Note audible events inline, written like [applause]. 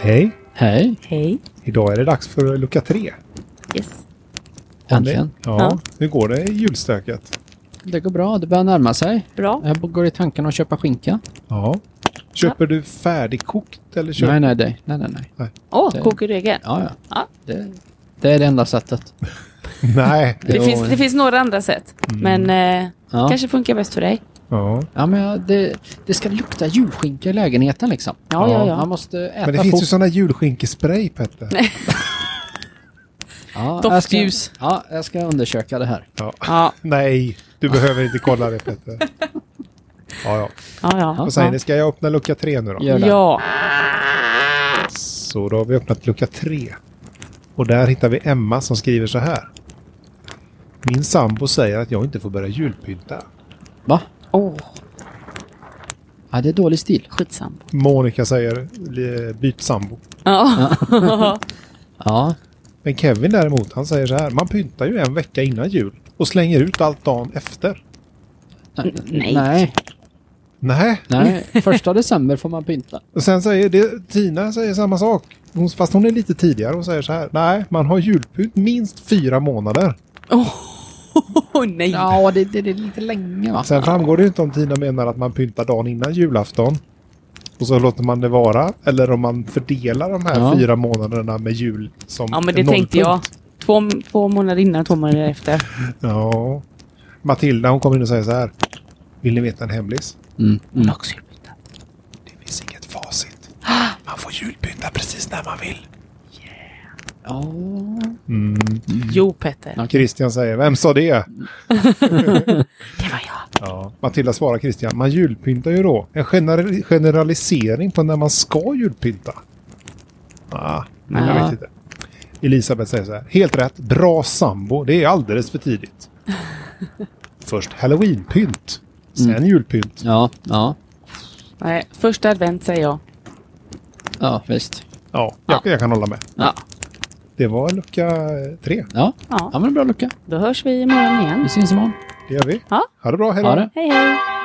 Hej! Hej. Hej. Idag är det dags för lucka tre. Yes. Äntligen. Ja, Ja. hur går det i julstöket? Det går bra. Det börjar närma sig. Bra. Jag går i tanken att köpa skinka. Ja. Köper du färdigkokt eller köper... Nej, nej, nej. nej, nej, nej. Åh, Det- kokar du egen? Ja, ja. Ja. Det, det är det enda sättet. [laughs] nej. Det, Jo. finns, det finns några andra sätt. Men eh, Ja. kanske funkar bäst för dig. Ja. Ja, men jag- det, det ska lukta julskinka i lägenheten liksom. Ja, ja, Man ja. måste äta Men det finns fort. ju sådana julskinkespray Petter. Nej. ja, doftljus. Jag ska, ja, jag ska undersöka det här. Ja. Ja, nej, du behöver inte kolla det Petter. Ja, ja. ja, ja. Vad säger ni, ska jag öppna lucka tre nu då? Gör det. Ja, Så då har vi öppnat lucka 3. Och där hittar vi Emma som skriver så här. Min sambo säger att jag inte får börja julpynta. Va? åh, Ja, det är dålig stil. skitsam. Monica säger eh, byt sambo. Ja, Ja, Men Kevin däremot, han säger så här. Man pyntar ju en vecka innan jul och slänger ut allt dagen efter. nej. nej. Nej, Nej, [laughs] första december får man pynta. och sen säger det, Tina säger samma sak. Hon, fast hon är lite tidigare och säger så här. Nej, man har julpynt minst fyra månader. [laughs] Åh, nej. Ja, det, det, det är lite länge va? Sen framgår det ju inte om Tina menar att man pyntar dagen innan julafton. Och så låter man det vara. Eller om man fördelar de här Ja. fyra månaderna med jul som Ja, men det en tänkte jag. nollpunkt. Två, två månader innan, två månader efter. Ja. Matilda hon kommer in och säger så här. Vill ni veta en hemlis? Mm, mm. Också. Det finns inget facit. Man får julpynta precis när man vill. Ja. Jo, Petter. Christian säger, vem sa det? Det var jag. Ja. Matilda svarar Christian, man julpyntar ju då. En gener- generalisering på när man ska julpynta. Ah, nej, jag Ja. vet inte. Elisabeth säger så här, helt rätt, bra sambo, det är alldeles för [laughs] tidigt. Först halloweenpynt, sen julpynt. Ja, ja, Nej, första advent säger jag. ja, visst. Ja, jag, jag kan hålla med. Ja. Det var lucka eh, tre, Ja, ja Mm. Ja, men bra lucka. då hörs vi imorgon igen. Vi syns imorgon. det gör vi. Ja. Ha det bra, hej då. Ha det. Hej, hej.